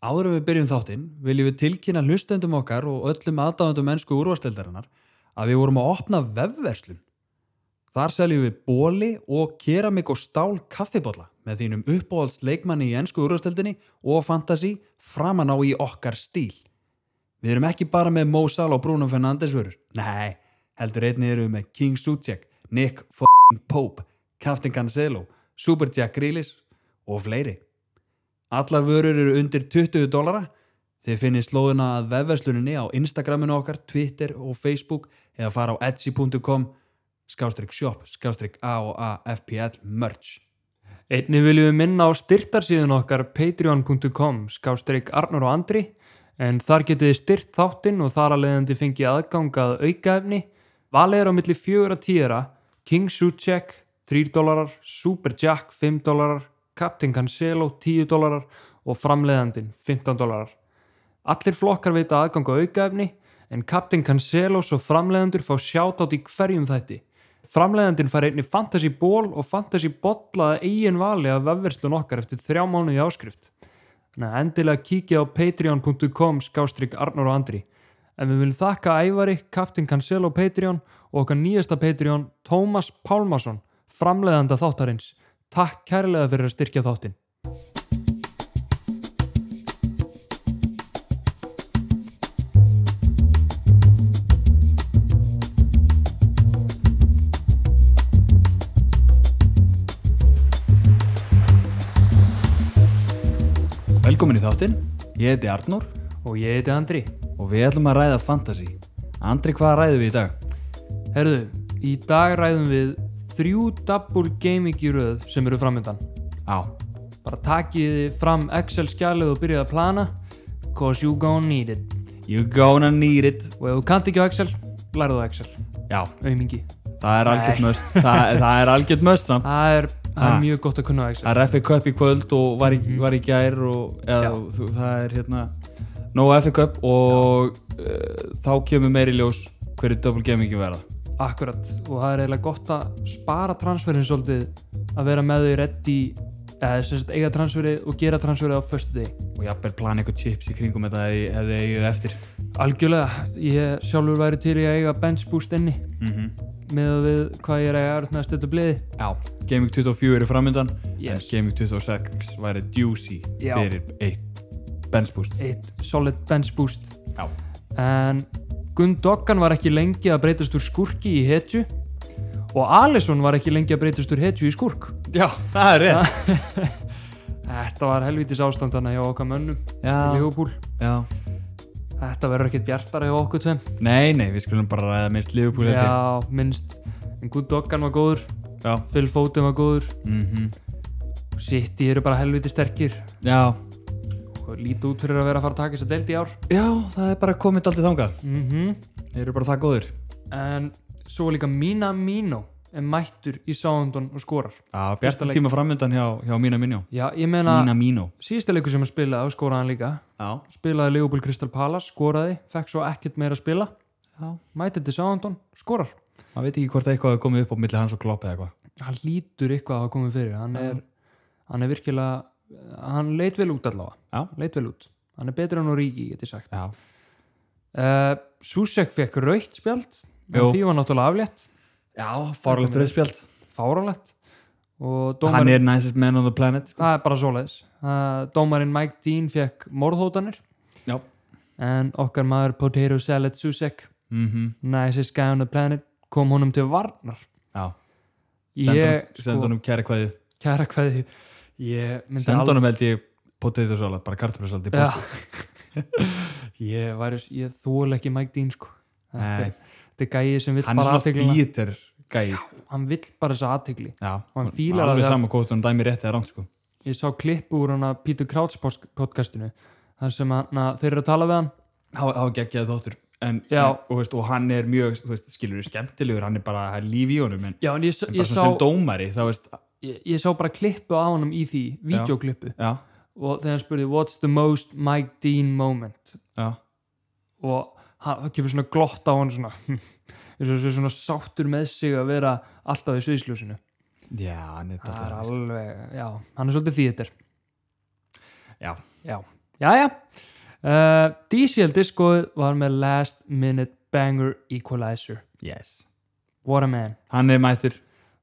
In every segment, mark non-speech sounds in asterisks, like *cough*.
Áður en við byrjum þáttinn viljum við tilkynna hlustendum okkar og öllum aðdáðandum mennsku úrvasteldarinnar að við vorum að opna vefverslun. Þar seljum við bóli og keramik og stál kaffibólla með þínum uppáhalds leikmanni í ennsku úrvasteldinni og fantasi framan á í okkar stíl. Við erum ekki bara með Mo Salah og Bruno Fernandes vörur. Nei, heldur einnig erum við með King Suchek, Nick f***ing Pope, Captain Cancelo, Super Jack Grealish og fleiri. Allar vörur eru undir 20 dólara. Þið finnir slóðuna að vefversluninni á Instagraminu okkar, Twitter og Facebook eða fara á etsy.com skástrík shop, skástrík a og a fpl merch. Einnig viljum við minna á styrtarsíðun okkar patreon.com skástrík Arnur og Andri en þar getið þið styrt þáttinn og þar að leiðandi fengið aðgang að aukaefni. Valið er á milli 4 að 10 King Suchek 3 dólarar, Super Jack 5 dólarar, Captain Cancelo 10 dólarar og framleiðandin 15 dólarar. Allir flokkar veita aðgang á aukaefni en Captain Cancelos og framleiðandur fá sjátátt í hverjum þætti. Framleiðandinn fær einni fantasy ból og fantasy bolla að eigin vali af vefverslun okkar eftir þrjá mánuði áskrift. Þannig að endilega kíkja á patreon.com skástrík Arnur og Andri. En við viljum þakka Ævari, Captain Cancelo Patreon og okkar nýjasta Patreon, Tómas Pálmason, framleiðanda þáttarins. Takk kærlega fyrir að styrkja þáttinn. Velkomin í þáttinn, ég heiti Arnur Og ég heiti Andri. og við ætlum að ræða fantasy. Andri, hvað ræðum við í dag? Herðu, í dag ræðum við þrjú double gaming í röð sem eru framöndan. Á, Bara takið þið fram Excel skjalið og byrjið að plana Cause you gonna need it you gonna need it. Og ef þú kannt ekki á Excel, lærðu á Excel Já, Aumingi það er algjört Nei. möst. Það, það er algjört möst samt. Það er, það Ah. er mjög gott að kunna á Excel Það er FA Cup í kvöld og var í, var í gær og eða, Já. þú, það er hérna no FA Cup og uh, þá kemur meiri ljós hverju double gamingi verða. Akkurat Og það er eiginlega gott að spara transferin svolítið Að vera með þau reddi eða sem sagt eiga transferið og gera transferið á föstu degi Og jafnvel plana eitthvað chips í kringum þetta ef þið- ef þið eigið eftir. Algjörlega, ég sjálfur væri til í að eiga bench boost inni Mm með við hvað ég er að eiga erfitt með að stötu bliði Já, Gaming 24 er framöndan Yes. en Gaming 26 væri juicy Já. fyrir eitt bench boost. Eitt solid bench boost Já. en Gundokkan var ekki lengi að breytast úr skurki í hetju og Alisson var ekki lengi að breytast úr hetju í skurk Já, það er rétt. Þetta var helvitis ástandana hjá okkar mönnum í Já, Liverpool já. Þetta verður ekkert bjartara hjá okkur tveim Nei, nei, við skulum bara ræða minnst Liverpool eftir. Já, minnst en Gundokkan var góður, Já. Phil Foden var góður Mm City eru bara helvitis sterkir já. og lítið út fyrir að vera að fara að taka þess að deild í ár Já, það er bara komið aldrei þangað. mm Þeir eru bara það góðir. en svo var líka Mina Mino er mættur í Soundon og skorar Já, Fyrsta bjartur leik. tíma framöndan hjá, hjá Mína Minjó. Já, ég meina Mína Mínó. síðasta leikur sem hann spilaði, þá skoraði hann líka Já. spilaði Leopold Crystal Palace, skoraði fekk svo ekkert meira að spila Já. mætið til Sándon, skorar Maður veit ekki hvort eitthvað hefur komið upp á milli hans og Klopp eða eitthvað. hann lítur eitthvað að hafa komið fyrir hann Já. er, hann er virkilega hann leit vel út allavega Já. leit vel út, hann er betur en Origi get ég sagt Já. uh, Susek fekk raukt spjald Jú. en því var náttúrulega aflétt, Já, farlegt rauðspjald. fáralegt Hann og dómarinn, er nicest man on the planet. það er bara svoleiðis uh, dómarinn Mike Dean fekk morðhótanir Já. en okkar maður Potato Salad Susek Mm -hmm. nicest guy on the planet kom honum til varnar Já. ég, Senda sko, honum kæri hvaðið. kæra hverði ég myndi Senda aldrei- honum held ég potato salad, bara kartabrusalad í Já. posti. *laughs* ég væri, ég þól ekki Mike Dean sko þetta Nei, er, þetta er gæið sem vill hann er bara svona aðtegli þýtir gæi. sko. hann vill bara þessa aðtegli Já. Og hann fílar alveg alveg að- sama hvort hann dæmi rétt eða rangt sko. ég sá klipp úr hann að Peter Crouch pos- podcastinu þar sem hann, að þeir eru að tala við hann Há, há geggjaði þóttur. En, Já. en- og, veist, og hann er mjög, þú veist, skilur skemmtilegur, hann er bara, það er líf í honum, en já en ég, s- En bara ég, svona sem sá, dómari, þá veist, ég, ég sá bara klippu á honum í því, videoklippu já, og þegar hann spurði what's the most Mike Dean moment já, og hann, það kemur svona glott á hann svona *laughs* eins og þessi svona sáttur með sig að vera alltaf í sviðsljósinu já, hann er það er alltaf, alveg, já, hann er svolítið því þetta er Já. já, Jæja, uh, DCL diskoð var með Last Minute Banger Equalizer. Yes. What a man. Hann er mættur.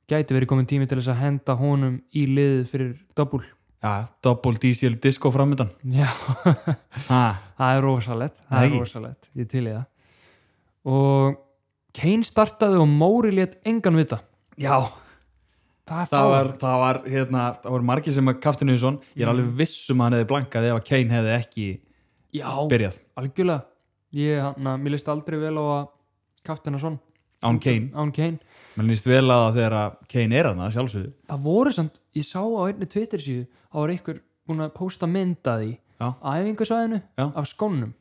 Gæti verið komin tími til þess að henda honum í liðið fyrir dobbul. Já, double diesel disco framöndan. Já, Ha, *laughs* það er rosalett. Það Nei. er rosalett. Ég til í það. Og Kane startaði og Móri létt engan vita. já. Það, er Það fáránlegt. var, það var, hérna, það voru margir sem að kaftinu því svon. Ég er alveg viss um að hann hefði blankað ef að Kane hefði ekki Já, byrjað. algjörlega. Ég, hann, mér líst aldrei vel á að kaftina svon Án Kane. án Kane. Mér líst vel að það þegar að Kane er hann að sjálfsögðu. Það voru samt, ég sá á einni Twitter síðu, þá var einhver búin að posta mynda því Já. æfingasvæðinu Já. af skónum.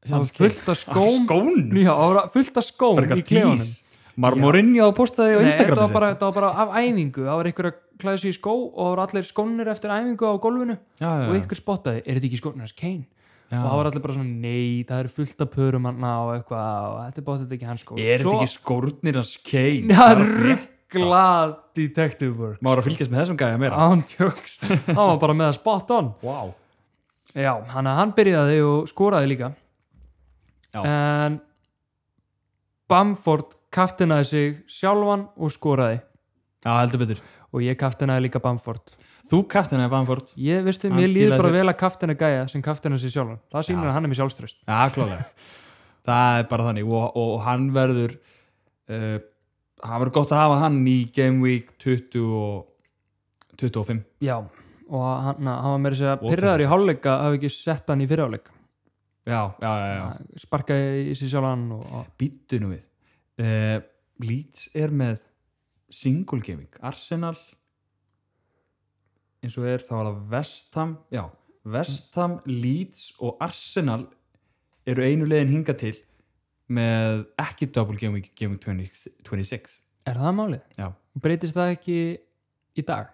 Það Hans var fullt af skóm. Skón? Já, það var fullt af skóm Bara í klefanum. Marmorinja og postaði á Nei, þetta Instagram var, bara, þetta var bara af æfingu. Það var einhver að klæða sig í skó og það voru allir skónir eftir æfingu á gólfinu Já, já, og já. einhver spottaði, er þetta ekki skónir hans Kane? Já. Og það var allir bara svona, nei, það eru fullt af pörum hann og eitthvað og þetta er bóttið ekki hans skó. Er þetta Svo- ekki skórnir hans Kane? Já, Það er rétt. rugglað detective work Má voru að fylgjast með þessum gæja meira. Ándjóks, hann var bara með að spot on Wow. Já, hann, hann byrjaði og skoraði líka Já. En Bamford kaftinaði sig sjálfan og skoraði Já, heldur betur. Og ég kaftinaði líka Bamford Þú kaftin eða Bamford? Ég veistu, Hann mér líður skilaði bara sér. vel að kaftina gæja sem kaftina sig sjálfan Það sýnir að hann er með sjálfströst Já, klálega Það er bara þannig og, og hann verður uh, hann verður gott að hafa hann í Game Week 20 og 25 Já, og hann, hann var meira að segja Og pyrraður í 26. hálfleika hafi ekki sett hann í fyrirháleika Já, já, já, já. Sparkaði í sig sjálfan og, og Býttu nú við uh, Leeds er með single Game Week Arsenal eins og er, þá var það Vestham já, Vestham, Leeds og Arsenal eru einu leiðin hinga til með ekki double Game Week, Game Week 20, 26 Er það málið? Já. Breytist það ekki í dag?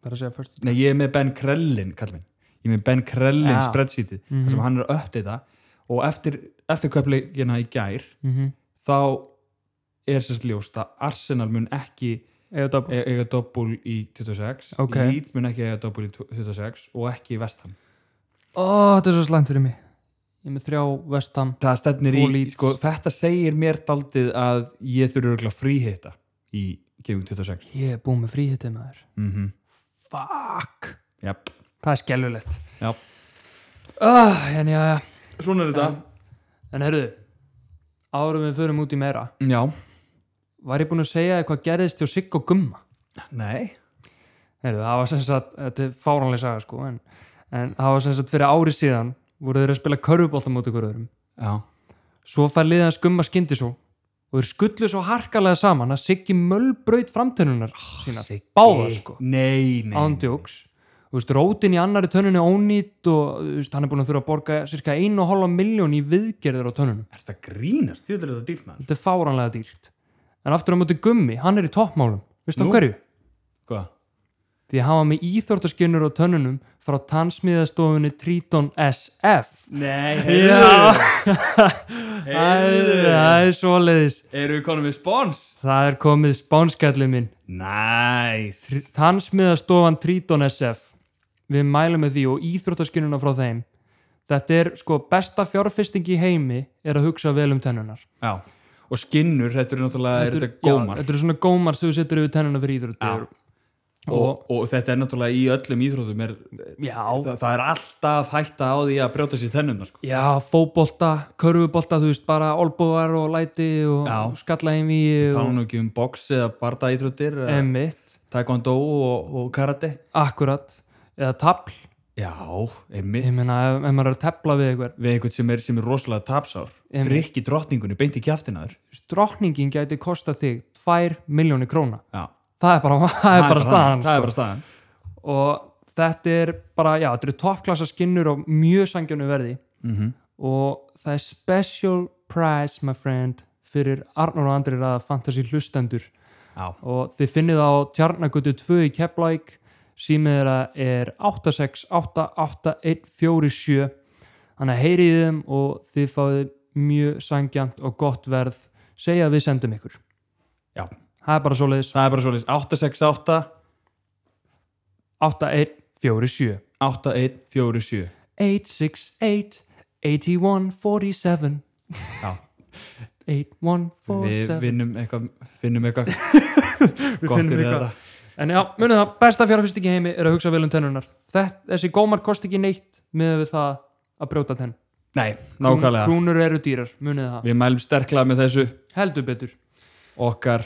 Það er að segja först Nei, ég er með Ben Krellin, kall minn. Ég er með Ben Krellin Já. spreadsheetið, Mhm. þar sem hann er að uppdata og eftir, eftir köpleikina í gær, mm -hmm. þá er sérst ljóst að Arsenal mun ekki Eða dobbul e- eiga doppul í 26, Ok. Leeds mun ekki eiga doppul í 26 og ekki Vestham. Ó, þetta er svo slæmt fyrir mig Ég er með þrjá vestam Það stefnir Tvo í, Leeds. sko, þetta segir mér daldið að ég þurfi örugglega að fríhitta í gefing 26. Ég er búið með fríhitið maður Mm -hmm. Fuck Jáp, Það er skellulegt jáp. oh, En já, já Svona er þetta. En herruðu Árum við förum út í meira Já. Var ég búin að segja þér hvað gerðist hjá Sigg og Gumma? Nei. Herruðu, það var sem sagt Þetta er fáránlega saga sko en, en það var sem sagt fyrir ári síðan voru þeir að spila körfubolta móti hverjum öðrum Já. Svo fær liðið að skumma skyndi svo og þeir skullu svo harkalega saman að Siggi möllbraut framtönnunar sína, Ah, Siggi. báðar sko, Nei, nei. ándjóks. Þú veist, rótin í annari tönnunni er ónýtt og þú veist, hann er búin að þurfa að borga cirka 1,5 miljón í viðgerðir á tönnunum. Er þetta grínast? Þú veitur þetta dýrt maður? Þetta er fáránlega dýrt. En aftur á móti gummi, hann er í toppmálum. Veistu á Nú. hverju? Hvað? Því að hafa með íþórtaskinnur á tönnunum frá tannsmiðastofunni Triton SF. Nei, Já. *laughs* Æ, Heyrðu. Það er svoleiðis. Eru við konum með spons? Það er komið spánskallið minn. Næs. tannsmiðastofan Triton SF við mælum með því og íþróttaskinnuna frá þeim þetta er sko besta fjárfesting í heimi er að hugsa vel um tennunar Já. Og skinnur, þetta eru náttúrulega, þetta eru gómar. já, þetta eru svona gómar sem þú setur yfir tennuna fyrir Já. íþróttur og, og þetta er náttúrulega í öllum íþrótum. Er, já, það, það er alltaf hætta á því að brjóta sér tennundar, sko. já, fótbolta körfubolta, þú veist, bara olbúar og læti og Já. skalla einví Það og er nú ekki um box eða barda íþróttir, emitt, taekwondo og, og karate. akkurat eða tafl, Já, einmitt. ég meina ef, ef maður er að tefla við eitthvað, Við einhvern sem er, sem er rosalega tapsár. Einmitt. Drykki drottningunni, beint í kjæftinaður. drotningin gæti kosta þig 2 miljónir króna Já. það er bara, *laughs* það er bara staðan Það sko. er bara staðan. og þetta er bara, já, þetta eru toppklassa skinnur á mjög sangjönu verði Mhm. og það er special prize, my friend fyrir Arnur og Andri ræða fantasy hlustendur Já. og þið finnið það á Tjarnagutu 2 í Keflæk símið þeirra er 8688147 þannig að heyrið í þeim og þið fáið mjög sangjönt og gott verð segja að við sendum ykkur Já. það er bara svoleiðis Það er bara svolítið 868 8147 8147 868 8147 *laughs* Já. 8147 Við vinnum eitthvað, finnum *laughs* eitthvað Við gott finnum fyrir eitthvað. þetta. En já, munið það, besta fjárfyrsting í heimi er að hugsa vel um tennunar. Þessi gómar kosti ekki neitt með við það að brjóta tenn. Nei, nákvæmlega. Krúnur eru dýrar, munið það. Við mælum sterklega með þessu Heldur betur. okkar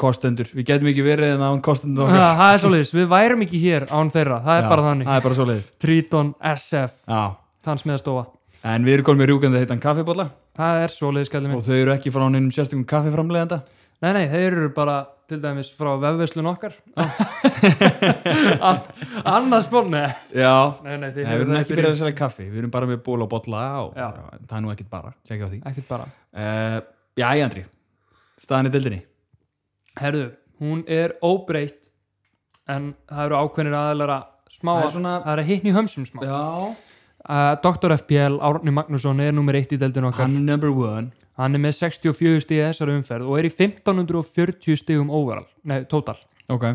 kostendur. Við getum ekki verið en án kostendur Ha, okkar. Það er svoleiðis, við værum ekki hér án þeirra, Ah, það er Já, bara þannig. Það er bara svo leiðist. Triton SF, Já. tannsmiðastóa. En við erum komin með rjúkandi heitan kaffibólla Það er svoleiðis, kallið minn. og þau eru ekki frá neinum sérstökum kaffiframlegenda. Nei, nei, þeir eru bara til dæmis frá vefveslun *laughs* okkar. An- Annars ból, nei. Já. Nei, nei, Nei, þeir við eru erum ekki byrjað að selja kaffi, við erum bara með ból og bolla og Já. það er nú ekkit bara, tjekkja á því. Ekkert bara. Uh, já, Andri, staðan í dildinni. Herðu, hún er óbreytt en það eru ákveðnir aðeinar að smá Það er það er, svona- hittn í hömsum smá Eh, uh, Já. Dr. FPL, Árni Magnússon er nummer eitt í deildin okkar Hann hann, er number one. er með 64 stig í þessari umferð og er í 1540 stigum overall, nei, total Ok.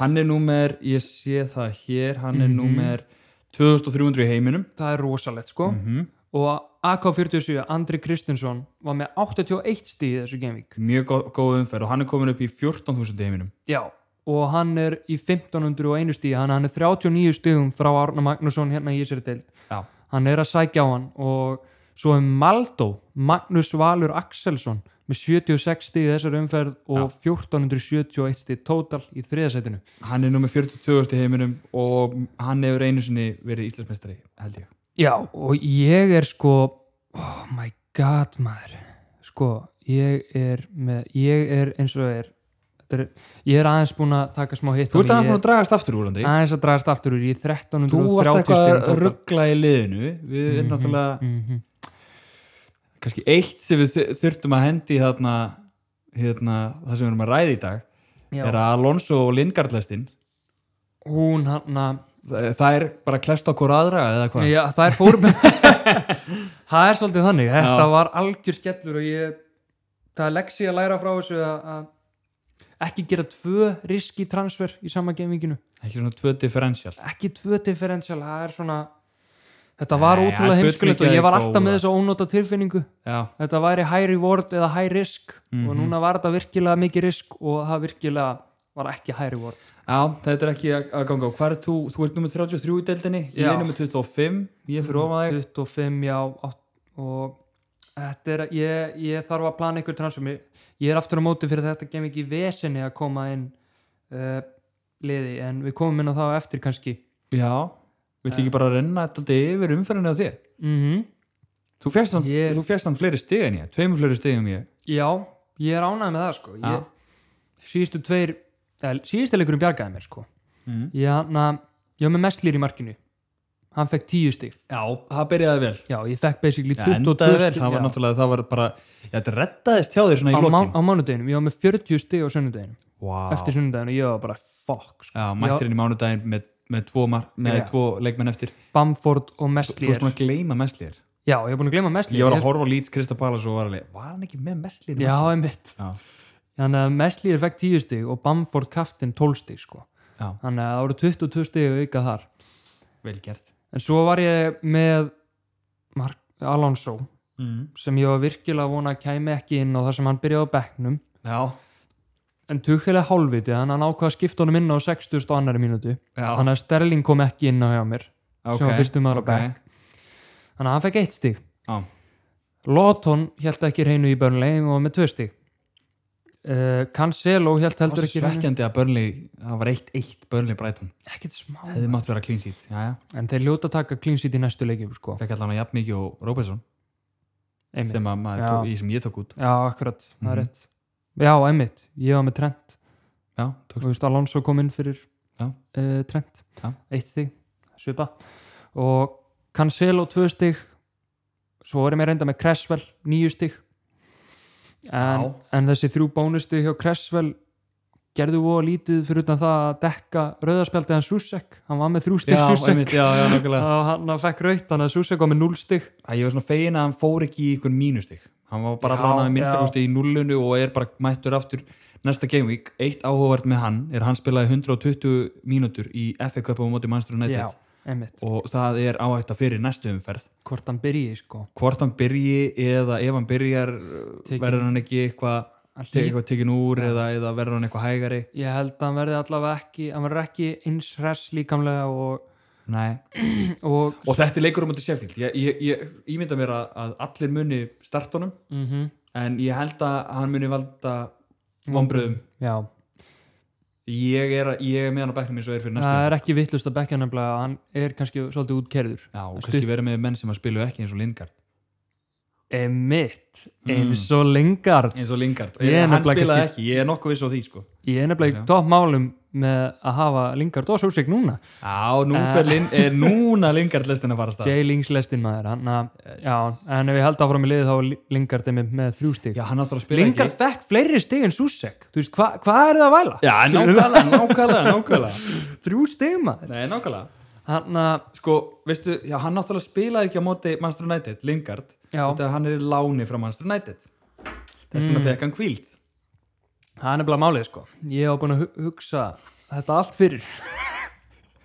Hann er númer, ég sé það hér, hann Mhm. er númer 2300 í heiminum. það er rosalegt sko Mhm. og AK47, Andri Kristinsson var með 81 stig í þessu gaming Mjög gó góð umferð og hann er komin upp í 14.000 í heiminum. já, og hann er í 1501 stig hann, hann er 39 stigum frá Árni Magnússon hérna í þessari deild Já. hann er að sækja á hann og svo er Maldó Magnús Valur Axelsson með 76 stíð í þessari umferð og 1471 stíð tótal í þriðasætinu Hann er nummer 42.000 í heiminum og hann hefur einu sinni verið Íslandsmeistari, held ég. já og ég er sko oh my god maður sko ég er með ég er eins og er, þetta er ég er aðeins búin að taka smá hitt Þú ert af aðeins því, búin að dragast aftur úr, ég Andri. er aðeins að dragast aftur úr ég er Þú varst 1330 eitthvað stíð að tótal ruggla í liðinu. Við erum náttúrulega, mm -hmm. kannski eitt sem við þu- þurftum að hendi þarna, hérna, það sem við erum að ræða í dag, er að Alonso og Lingard lestin, hún hann að það það er bara klest okkur aðra eða hvað? Já, það er fórum *laughs* Það er svolítið þannig Þetta var algjör skellur og ég það er leksi að læra frá þessu að, að ekki gera tvö riski transfer í sama gaminginu Ekki svona tvö differential. ekki tvö differential, það er svona þetta var Nei, ótrúlega það heimskulegt og fullmikið ég var er alltaf með góða. þessa ónóta tilfinningu Já. þetta væri high reward eða high risk Mhm. og núna var þetta virkilega mikið risk og það virkilega var ekki high reward Já, þetta er ekki að að ganga á. Hvað er þú? Þú ert nummið 33 í deildinni, ég Já. er nummið 25, ég er fyrir ofað þig. 25, já átt- og þetta er, ég, ég þarf að plana ykkur transfumi, ég er aftur á móti fyrir þetta gem ekki vesinni að koma inn uh, liði, en við komum inn á það á eftir kannski Já. Vill Eh. ekki bara renna þetta yfir umferðinni á þér? mm Mhm. Þú fjast hann, Ég- þú fjast hann fleiri stig en ég, tveimur fleiri stig en ég. já, ég er ánægð með það sko Já. ég, síðustu tveir eða, síðustu leikurinn bjargaði mér sko Mm. ég, na, ég var með mestlýr í markinu hann fekk 10 stig Já, það byrjaði vel. já, ég fekk basically Já, 22 endaði vel, stig það var já, náttúrulega, það var bara, já, þetta reddaðist hjá þér svona í á, má- lokin. á mánudeginum, ég var með 40 stig á sunnudeginu Wow. eftir sunnudeginu, ég var bara fuck sko. Já, mættir inn í mánudaginn með, með, tvo, mar, með Já. tvo leikmenn eftir. Bamford Þú og Messlier veist maður að gleyma mestlýr. Já, ég er búin að gleyma Messlier Ég var að horfa á Leeds Krista Palace og var alveg, var hann ekki með mestlýr? Já, einmitt Já. Þannig að Messlier fekk 10 stig og Bamford kaftin 12 stig sko. Já. Þannig að það voru 22 stig auka þar Vel gert. En svo var ég með Mark Alonso Mm. sem ég var virkilega að vona að kæmi ekki inn á þar sem hann byrjaði á bekknum Já. en tukkilega hálfviti þannig að hann ákvað að skipta honum inn á 60 og annari mínútu Já. þannig að Sterling kom ekki inn á hjá mér sem var fyrstum maður á bekk. þannig að hann fekk eitt stig Já. Lóton held ekki reynu í Burnley og var með tvö stig uh, Cancelo held Það heldur var ekki hérna. reynu svekkjandi að Burnley, það var 1-1 Burnley Brighton. ekkert smá Hefði mátt vera clean sheet. Já, já. en þeir ljóta að taka clean sheet í næstu leikjum sko. Fekk allan að jafn mikið og Robertson einmitt sem, að maður Já. tók, í- sem ég tók út. já, akkurat, það er Mhm. rétt já, einmitt, ég var með Trent Já, og tókst. þú veist Alonso kom inn fyrir Já. eh, Trent, Já. eitt stig svipa og Cancelo tvö stig svo erum ég reynda með Cresswell níu stig Já. en, en þessi þrjú bónusti hjá Cresswell gerðu og lítið fyrir utan það að dekka rauðarspjaldið hann Susek, hann var með þrjú stig Já, Susek einmitt, já, já, nokkulega. og hann fekk raut, þannig að Susek var með núl stig að ég var svona fegin að hann fór ekki í einhvern mínustig hann var bara Já, allan að já. minnstakosti í nullunu og er bara mættur aftur næsta game week, eitt áhugavert með hann er að hann spilaði 120 mínútur í FA Cup á móti Manchester United Já. einmitt, og það er áhætta fyrir næstu umferð hvort hann byrji sko. hvort hann byrji eða ef hann byrjar Tekin- verður hann ekki eitthvað Hann tek- eitthvað tekin úr eða, eða verður hann eitthvað hægari Ég held að hann verði allavega ekki, hann verður ekki eins hress líkamlega og, Nei. og og þetta er leikur um þetta Sheffield ég, ég, ég ímynda mér að, að allir muni startunum mm en ég held að hann muni valda vombröðum já, ég er, að- ég er með hann á bæknum eins og er fyrir næstu það er ekki vittlust að bekka nefnilega að hann er kannski svolítið útkerður. Já, og kannski verið með menn sem að spilu ekki eins og Lingard Einmitt, Mm. eins og Lingard. eins og Lingard, Ég er hann nefnilega spilaði kannski- ekki ég er nokkuð viss á því sko Ég er nefnilega í topp málum með að hafa Lingard og Súsik núna. Já, nú fer Lin, er núna Lingard lestin að fara af stað Eh. Jay Lings lestin maður, hann að, já, en ef ég held áfram í liðið þá er Li- Lingard er með, með þrjú stig. Já, hann áttúrulega að spila Lingard fekk fleiri stig en Súsik, þú veist, hva- hvað er það að væla? ekki Já, nákvæmlega, nákvæmlega, nákvæmlega Þrjú stig maður. Nei, nákvæmlega Hann að, Sko, veistu, já, hann náttúrulega spilaði ekki á móti Manchester United, Lingard Já. Mm. Þetta hann er í láni frá Manchester United Þess vegna fekk hann kvíld Það er nefnilega málið sko. Ég hef búin að hu- hugsa þetta allt fyrir.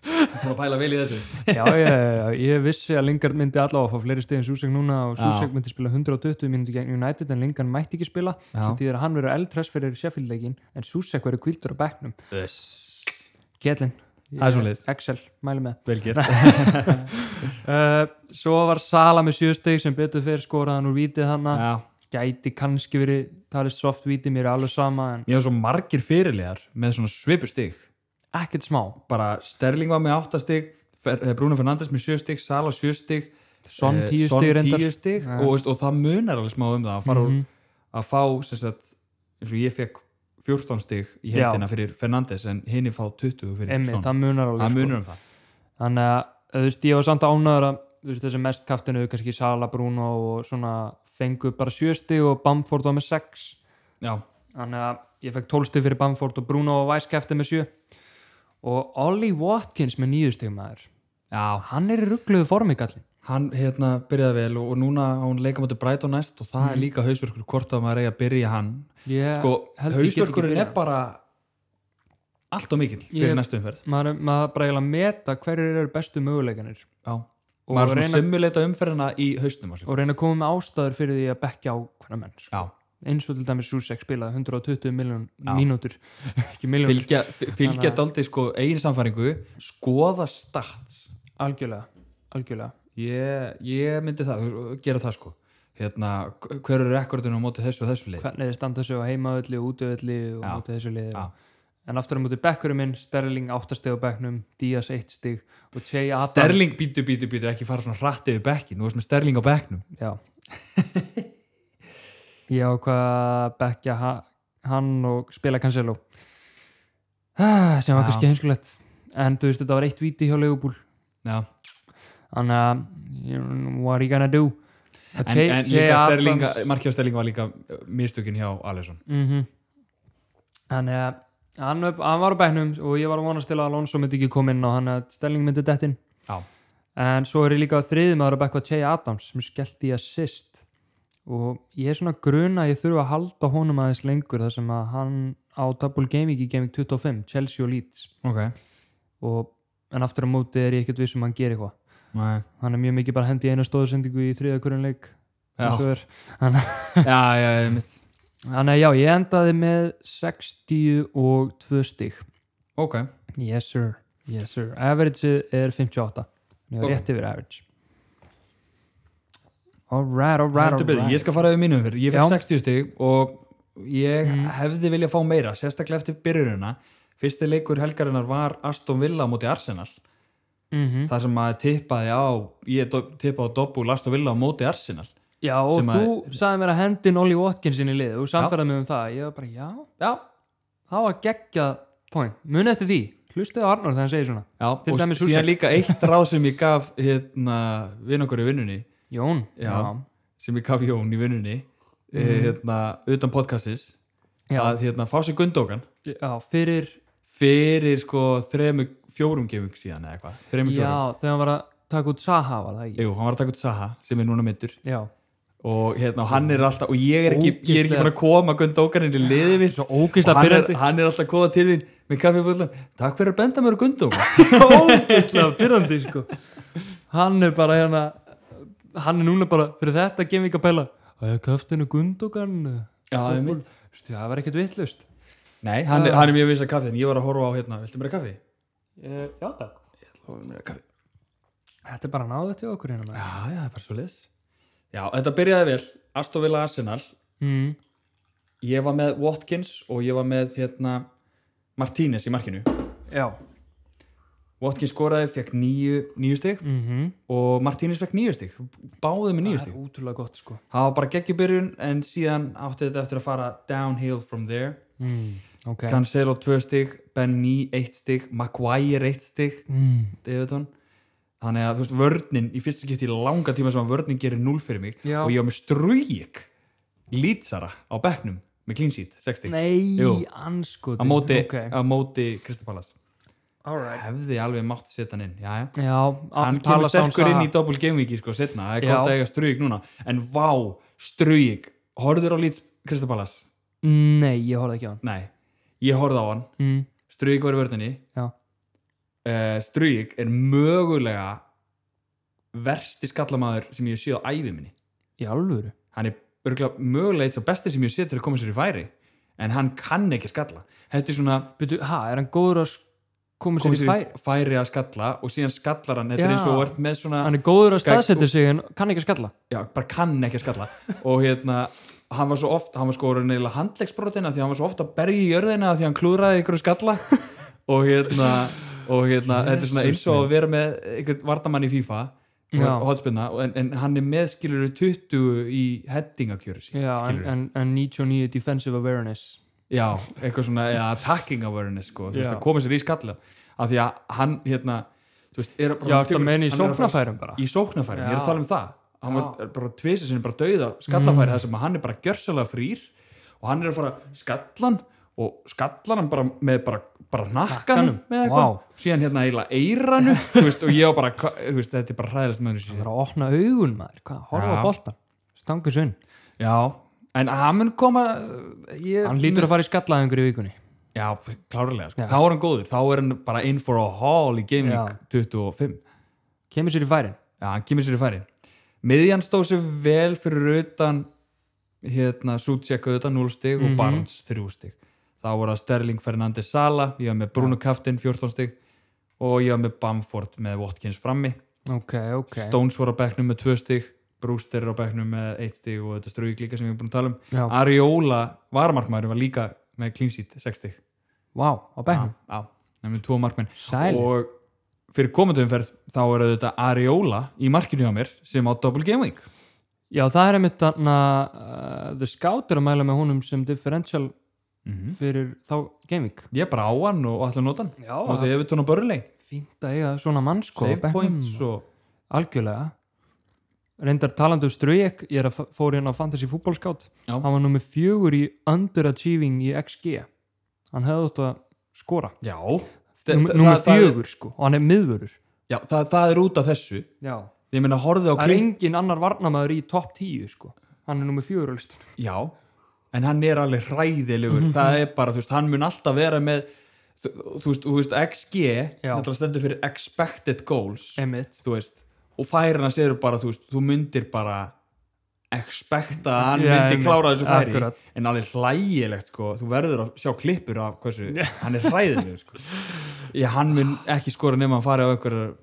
Það að pæla vel í þessu Já, já, já, já. ég vissi að Lingard myndi allavega að fá fleiri stegin Susek núna og Susek myndi spila 120 mínúti gegn United en Lingard mætti ekki spila. Já. Svo týðir að hann verið eldræs fyrir Sheffield-leikin en Susek verið kvildur á bekknum. Þess Kjellin. Það er svoleiðis. Excel, mæli með. Vel gert Uh, svo var Sala með sjösteg sem betur fyrir skoraðan úr vítið hana. Já Gæti kannski verið talið soft vítið, mér er alveg sama en Ég var svo margir fyrirlegar með svona svipustig ekkert smá. bara Sterling var með 8 stig Fer- eh, Bruno Fernandes með 7 stig, Sala 7 stig Son eh, 10 Son stig reyndar. 10 stig Ja. og, veist, og það munar alveg smá um það að, fara, mm Mhm. að fá sem sagt, eins og ég fekk 14 stig í heldina fyrir Fernandes en hinni fá 20 fyrir Emmi, Son það munar alveg. það sko. munar um það þannig að þú veist, ég var samt ánæður að þú veist, þessi mest kaftinu, kannski Sala, Bruno og svona fengu bara sjösti og Bamford var með sex Já, þannig að ég fekk tólsti fyrir Bamford og Bruno og Væs kæfti með sjö og Ollie Watkins með nýjustegmaður Já. hann er í ruggluðu formi gallin hann hérna byrjaði vel og, og núna á hann leikamötu Brighton næst og það Mhm. er líka hausverkur hvort að maður eigi að byrja hann ég sko, Eh, held ég get ekki hausverkurinn er byrjað. bara allt og mikill fyrir Ég- næstu umferð maður, er- maður bara eiginlega meta hverjir eru bestu möguleikanir Já. Og maður er svona reyna- simuleita umferðina í haustum á sig og reyna að koma með ástæður fyrir því að bekja á hvernig menn sko. Já, eins og til dæmis Susek spilaði 120 miljón Já. mínútur ekki miljón, fylgja, fylgja daldi sko eigin samfæringu, skoða stats algjörlega algjörlega ég, ég myndi það, þú- gera það sko hérna, hver er rekordinu á móti þessu og þessu leik hvernig þið standa sig á heimaölli og útöölli og Já. móti þessu liði Já. en aftur á móti bekkurum minn, Sterling 8 stig á bekknum, Díaz 1 stig og Che Adam Sterling býtu, býtu, býtu, ekki fara svona hratt yfir bekkin, nú erst með Sterling á bekknum já *laughs* ég ákvað að bekkja ha- hann og spila Cancelo Ah, sem var Já. kannski heimskulegt en þú veist þetta var eitt víti hjá Leopold Já, þannig að you know, what are you gonna do en, en líka Sterling markið á Sterling var líka uh, mistökin hjá Alisson mm þannig að hann, hann var á bæknum og ég var að vonast til að Alonso myndi ekki koma inn og hann að Stelling myndi dettin Já, en svo er ég líka á þriðum aðra bekk á Che Adams sem skellti í assist og ég er svona gruna að ég þurfa að halda honum aðeins lengur þar sem að hann á Double Game Week í Game Week 25 Chelsea og Leeds ok og, en aftur á móti er ég ekkert viss um að hann geri eitthvað Nei. hann er mjög mikið bara að hendi eina stóðsendingu í þriða hverjum leik Já. eins og er. *laughs* Já, já, já, mitt þannig að já, ég endaði með 62 stig Ok, Yes sir, yes sir Average er 58 Ég var Ok. rétt yfir average Alright, alright, heldur betur, ég alright skal fara yfir mínum fyrir Ég fekk Já. 60 stig og ég hefði viljað fá meira, sérstaklega eftir byrjunina Fyrsti leikur helgarinnar var Aston Villa móti Arsenal mm -hmm. þar sem maður tippaði á ég do- tippaði á dobbúl Aston Villa á móti Arsenal Já, og Sem að- þú sagði mér að hendin Ollie Watkins inn í lið og samferðaði mig um það Ég var bara, já, Já, það var geggjað point Muni eftir því, hlustaði á Arnold þegar hann segir svona Já Til og dæmis síðan Húsek. líka eitt ráð sem ég gaf hérna, vinn okkur í vinnunni Jón, Já. sem ég gaf Jón í vinnunni mm. hérna, utan podcastis Mhm. Já. að hérna, fá sér gundókan já, já fyrir fyrir sko þremu fjórum gefung síðan eða eitthvað, þremu fjórum Já, þegar hann var að taka út Saha var það ekki Jú, hann var að taka út Saha sem er núna mittur Já, og hérna, og hann er alltaf og ég er ekki, ég er ekki Ógeðslega. búin að koma Gunn Dókarinn í liðið mitt Svo ógeðslega Og hann er- pirrandi. hann er alltaf að koma til mín með kaffibúllan, takk fyrir að benda mér á gundum *laughs* ógeðslega pyrrandi sko. hann er bara hérna hann er núna bara fyrir þetta gefum við ekki að pæla að ég kafti hennu Gundogan Já, einmitt. Veistu, það var ekkert vittlust Nei, hann, er- hann er mjög viss að kaffi en ég var að horfa á hérna, viltu mér að kaffi? Eh, já takk Ég ætla að mér að kaffi þetta er bara náðið til okkur hérna maður. Já, já, það er bara svo liðs Já, þetta byrjaði vel, Aston Villa Arsenal mm. Ég var með Watkins og ég var með hérna, Martínez í markinu já Watkins skoraði, fekk nýju, nýju stig mm og Martínez fekk nýju stig Báðið með nýju það stig er útrúlega gott sko Það var bara geggjubyrjun en síðan átti þetta eftir að fara downhill from there mm. ok Cancelo 2 stig, Benny 1 stig Maguire 1 stig mm. Everton Þannig að þú veist, vörnin í fyrsta skipti í langa tíma sem að vörnin gerir 0 fyrir mig Já. og ég var með strújik lýtsara á bekknum með clean sheet, 60 nei Jú. anskotin á móti, ok á móti Kristapalas alright hefði alveg mátt setja hann inn já, já. já hann kemur sterkur inn í double game weeki sko, setna, það er gott Já. að eiga strújik núna en vá, strújik horfður á lýts Kristapalas nei ég horfði ekki á hann nei, ég horfði á hann mm. strújik var í vörninni já uh, Strujik er mögulega versti skallamaður sem ég sé á ævi minni í alvöru hann er örgulega, mögulega eitt svo besti sem ég sé til að koma sér í færi en hann kann ekki skalla þetta er svona Byrju, ha, er hann góður að sk- koma sér koma í færi? sér í færi að skalla og síðan skallar hann, þetta er Já. eins og vart með svona Hann er góður að Gegn- staðsetja sig en kann ekki að skalla. já, bara kann ekki að skalla og hérna, hann var svo oft hann var sko reynilega handlegsbrotina því að hann var svo oft að berja í jörðina því að hann klúðraði ykkur *laughs* skalla og hérna og hérna, þetta er svona eins og að vera með einhvern vartamann í FIFA Já. hotspinna, en, en hann er með skilur 20 í headingakjöru sín Já, en, en, en 99 defensive awareness. já, eitthvað svona ja, attacking awareness sko, þú veist, Já. að koma sér í skalla af því að hann, hérna þú veist, er bara Já, þetta tekur- meina í hann er að fara- sóknarfærum bara. í sóknarfæri, ég er að Já. tala um það hann Já. var bara tvisið sinni bara dauða skallafæri þar sem að hann er bara gjörsalega frýr og hann er að fara skallan og skallan hann bara með bara, bara nakkanum Hnakkanum, með eitthvað vá. síðan hérna eiginlega *laughs* eiranu þú veist, og ég var bara, hva- þú veist, þetta er bara hræðilegt með Það þessu er að opna augun maður, hvað, horfa Já. á boltan. Stangur sunn. já, en hann mun koma ég, Hann lítur að fara í skallaðingur í vikunni. já, klárlega, sko. Já. þá er hann góður þá er hann bara in for a haul í Game Week 25 Kemur sér í færin. Já, hann kemur sér í færi miðjan stóð sér vel fyrir utan hérna, Sucek auðvitað 0 stig og Mhm. Barnes 3 stig þá voru það Sterling Fernandes Sala ég var með Bruno Kaftin 14 stig og ég var með Bamford með Watkins frammi Ok, ok. Stones voru á bekknum með 2 stig Brewster er á bekknum með 1 stig og þetta strögg líka sem ég er búin að tala um Já. Ariola varamarkmaður var líka með clean sheet 6 stig Vá, á bæknum. Já, nefnum tvo markmenn Sælir. og fyrir komandumferð þá er þetta Ariola í markinu á mér sem á Double Game Week Já, það er einmitt þarna, uh, The Scout er að mæla með honum sem differential Mhm. fyrir þá gaming. ég bara á hann og ætla að nota hann Já, og þetta er Evertón og Börley fínt að eiga svona sko, mannsko. save points og algjörlega reyndar talandu um Strujek ég er að f- fór hérna á Fantasy fútbolskátt Já. hann var nummið fjögur í underachieving í XG hann hefði átt að skora já, Númer- það- nummið það- það- fjögur sko og hann er miðvörur já það, það er út af þessu já. ég meina horfið á það er klink engin annar varnamaður í topp 10 sko hann er nummið fjögur á listunum já, en hann er alveg *laughs* hræðilegur það er bara, þú veist, hann mun alltaf vera með þú, þú, veist, þú veist, XG Já. náttúrulega stendur fyrir expected goals emitt þú veist, og færin hans eru bara þú veist, þú myndir bara expecta að hann Já, myndi einmitt, klára þessu færi akkurat. en alveg hlægilegt sko, þú verður að sjá klippur af hversu, hann er hræðilegur sko. ég, hann mun ekki skora nema hann fari á einhverjar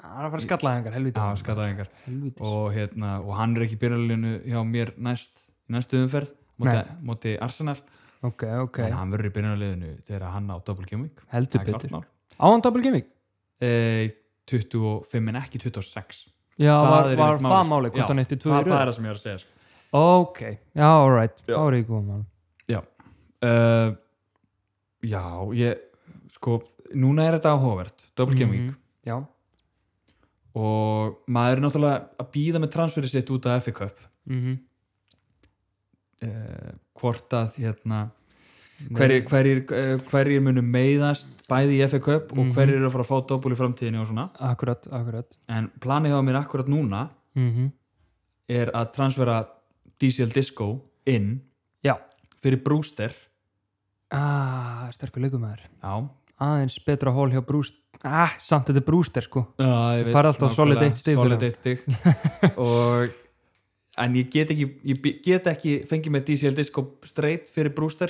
hann er að fara að skalla hengar helviti á skallaðingar helviti og, hérna, og hann er ekki í byrjulínu hjá mér næst, næstu umferð Nei. móti, móti Arsenal, ok ok en hann verður í byrjulínu þegar hann á double game week Það heldur er klárt betur mál. á hann double gaming Eh, 25 en ekki 26 já Það var, er var einmitt það sko. máli Já, hvort hann eitti tvö í það, það röð er það sem ég er að segja sko. ok já alright Já. þá er ég góð mann uh, Já, ég sko, núna er þetta áhugavert Double Game Week Mhm. já og maður er náttúrulega að býða með transferið sitt út af FA Cup mhm uh, hvort að hérna hverjir, hverjir, eh, hverjir munu meiðast bæði í FA Cup og Mhm. hverjir eru að fara að fá doppul í framtíðinni og svona Akkurat, akkurat en planið á mér akkurat núna mm er að transfera DCL Disco inn Já, fyrir Brewster Ah, sterkur leikumæður. Já, Aðeins betra hól hjá brúst. Ah, samt þetta er brúster sko. Já, ég veit, færð alltaf nákvæmlega, solid eitt stig fyrir solid hann. *laughs* eitt stig og en ég get ekki, ég bi- get ekki fengið með DCL Disco straight fyrir brúster